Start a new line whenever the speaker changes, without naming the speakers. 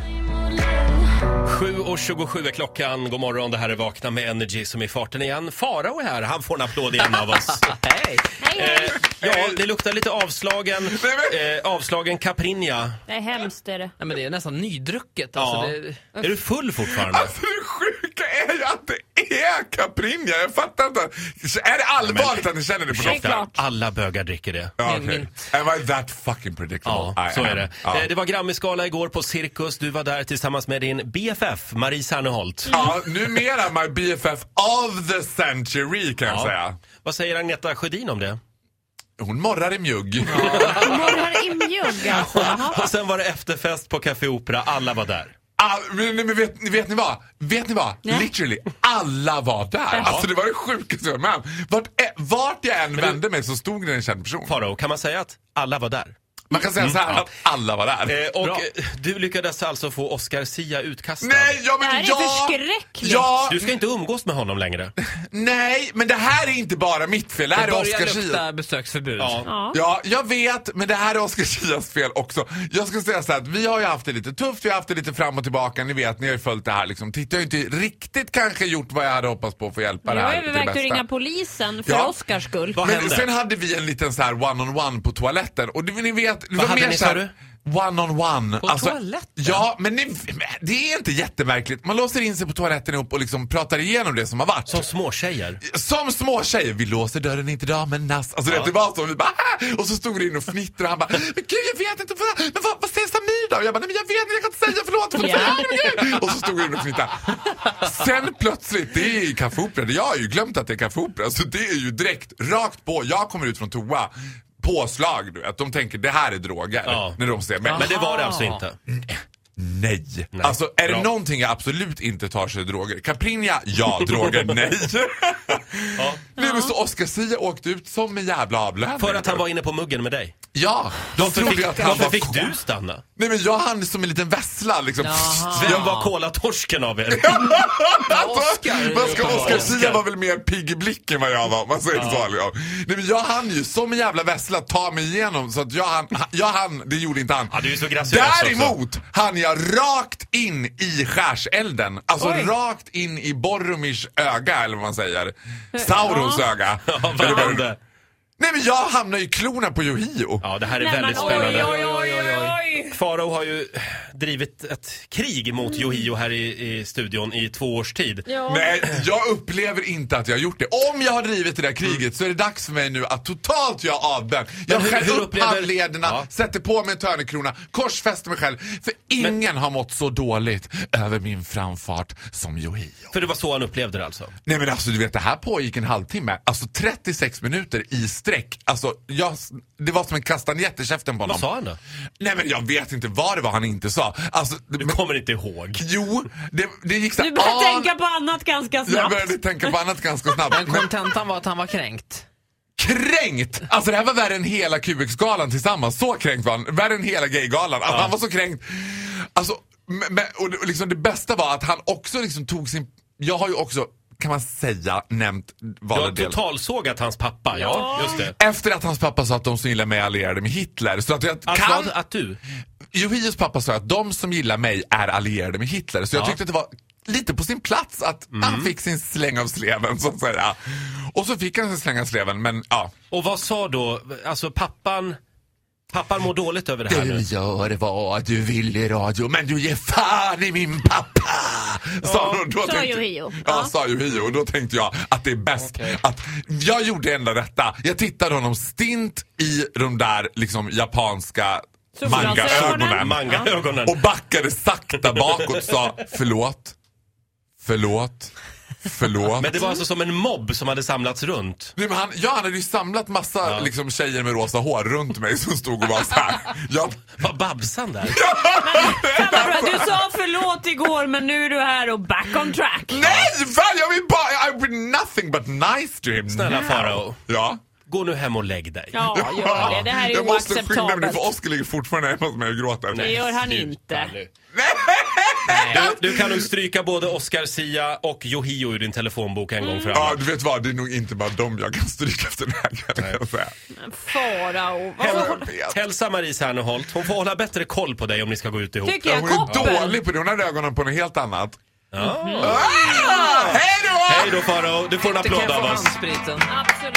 7.27 är klockan. God morgon, det här är Vakna med Energy som är i farten igen. Farao är här, han får en applåd igen av oss.
Hej!
Eh, ja, det luktar lite avslagen, eh, avslagen Caprinja.
Det är hemskt är det.
Nej, men det är nästan nydrucket.
Ja.
Alltså, det,
Är du full fortfarande?
Alltså det sjuka är ju att det är Caprinja. Jag fattar inte. Är det allvarligt att ni känner det på
Ursäkta,
doften?
alla bögar dricker det.
Ja,
Min-
okej. Am I that fucking predictable?
Ja, så
I
är
am.
det.
Ja.
Eh, Det var Grammisgala igår på Cirkus. Du var där tillsammans med din BFF, Marie Serneholt.
Ja, numera my BFF of the century kan jag säga.
Vad säger Agneta Sjödin om det?
Hon morrar i mjugg.
Morrar i mjugg alltså. Jaha.
Och sen var det efterfest på Café Opera. Alla var där.
Ah, men, men vet, vet ni vad? Vet ni vad? Literally, alla var där. Alltså det var det sjukaste jag varit med om. vart, ä- vart jag än vände mig så stod det en känd person.
Farao, kan man säga att alla var där?
Man kan säga så här att alla var där.
Mm. Eh, och
Bra.
eh, du lyckades alltså få Oscar Sia utkastad.
Nej, ja, men
Det här är
ja,
förskräckligt.
Ja,
Du ska inte umgås med honom längre.
Nej, men det här är inte bara mitt fel. Det här
det
är
börjar
Oscar Schia.
lukta besöksförbud.
Ja, jag vet, men det här är Oscar Schias fel också. Jag ska säga så här att vi har ju haft det lite tufft, vi har haft det lite fram och tillbaka. Ni vet, ni har ju följt det här liksom. Titta, jag har ju inte riktigt kanske gjort vad jag hade hoppats på för att hjälpa
Nu
det
har
här
jag
till det
övervägt att
bästa.
ringa polisen för
Ja.
Oscars skull.
Vad
Men
hände?
sen hade vi en liten så här one-on-one på toaletten och det, ni vet... det var
hade
mer
ni,
så här-
sa du?
One-on-one. Alltså,
På toaletten?
Ja, men ni, det är inte jättemärkligt. Man låser in sig på toaletten ihop och liksom pratar igenom det som har varit.
Som småtjejer.
Som små tjejer, vi låser dörren inte damernas. Alltså ja. det var så, vi bara "Ah!" Och så stod det in och fnittrade och han bara Men gud jag vet inte, vad, men vad, vad säger Samir då? Och Jag bara nej men jag vet inte, jag kan inte säga förlåt. Vad säger du, men gud?" Och så stod det in och fnittrade. Sen plötsligt, det är Café Opera, jag har ju glömt att det är Café Opera. Så det är ju direkt, rakt på, jag kommer ut från toa. Påslag du vet, de tänker det här är droger.
Ja.
När de ser mig.
Men det var det alltså inte.
Nej. Alltså är det
Bra.
någonting jag absolut inte tar så är det droger. Caprinja, ja. Droger, nej. Nej men så Oscar Sia åkte ut som en jävla avlöning.
För att han var inne på muggen med dig.
Ja, de
Varför
trodde
fick,
ju att han
varför
var...
fick du stanna?
Nej men jag hann som en liten vessla liksom.
Vem
Jag-
var kolatorsken av er?
Oscar.
Vad ska Oscar
Oscar.
Sia var väl mer pigg i blicken än vad jag var. Man säger så liksom. Nej men jag hann ju som en jävla vessla ta mig igenom så att jag hann, jag hann det gjorde inte han.
Ja, du är så alltså graciös
Däremot hann jag rakt in i skärselden. Alltså rakt in i Boromirs öga eller vad man säger. Saurons öga.
Ja,
Eller
vad
vad-
hände?
Nej men jag hamnar ju i klorna på Yohio.
Ja, det här är
Nej, men
väldigt
oj,
spännande.
oj, oj, oj, oj.
Farao har ju drivit ett krig mot
Mm.
Yohio här i, i studion i två års tid.
Nej, jag upplever inte att jag har gjort det. Om jag har drivit det där kriget så är det dags för mig nu att totalt göra avbön. Jag
hur-
skär
hur
upp
upplever-
handlederna,
Ja.
sätter på mig en törnekrona, korsfäster mig själv. För ingen har mått så dåligt över min framfart som Yohio.
För det var så han upplevde det alltså.
Nej men alltså du vet, det här pågick en halvtimme. Alltså 36 minuter i sträck. Alltså, jag, det var som en kastanjett i käften på honom.
Vad sa han då?
Nej men jag vet inte vad det var han inte sa. Alltså,
Du
men,
kommer inte ihåg.
jo, det, det gick så
Du
Ah,
börjar tänka på annat ganska
Jag
snabbt.
började tänka på annat ganska snabbt.
Men kontentan var att han var kränkt.
kränkt! Alltså det här var värre än hela QX-galan tillsammans. Så kränkt var han. Värre än hela gaygalan. Alltså, Han var så kränkt. Alltså, men, men, och det- och liksom det bästa var att han också liksom tog sin... Jag har ju också, kan man säga, nämnt
Du
vad
har
en del.
totalsågat hans pappa, ja. Just det.
Efter att hans pappa sa att de som gillar mig är allierade med Hitler. Så att jag
Att,
kan...
vad, att du?
Johios pappa sa att de som gillar mig är allierade med Hitler. Så jag
Ja. Mm.
tyckte att det var lite på sin plats att han fick sin släng av sleven, så att säga. Och så fick han sin släng av sleven, men ja.
Och vad sa då, alltså pappan, pappan mår dåligt över det här nu.
gör vad du vill i radio, men du ger fan i min pappa! Sa hon. Då
sa
tänkte-
Yohio.
Ja,
Ja.
sa Yohio. Och då tänkte jag att det är bäst att... Jag gjorde det enda rätta. Jag tittade honom stint i de där liksom japanska
Solglasögonen.
mangaögonen.
Manga-ögonen.
Och backade sakta bakåt och sa förlåt, förlåt, förlåt.
Men det var alltså som en mobb som hade samlats runt.
Nej, men han, ja, han hade ju samlat massa liksom, tjejer med rosa hår runt mig som stod och var så här. Jag,
Var Babsan där?
Fan vad bra. Du sa förlåt igår men nu är du här och back on track.
Nej! Fan, jag vill bara... I've been nothing but nice to him.
Snälla
now.
Farao.
Ja.
gå nu hem och lägg dig.
Ja, gör det. Det här är
jag måste skynda mig
oacceptabelt.
för Oskar ligger fortfarande hemma hos mig och gråter.
Det gör han
Sluta
inte.
nu. Du, du kan nog stryka både Oscar Sia och Yohio ur din telefonbok en gång för alla.
Mm. Ja, du vet vad, det är nog inte bara dem jag kan stryka efter den här kan jag säga.
Farao.
Häl,
jag vet.
hälsa Marie Serneholt. Hon får hålla bättre koll på dig om ni ska gå ut ihop.
Tycker
Ja,
jag.
Hon är
Koppen. Mhm.
dålig på det, hon hade ögonen på något helt annat. Ah, hej då!
Hej då Farao, du får en
Du kan
applåd
få
av oss.
handspriten.
Absolut.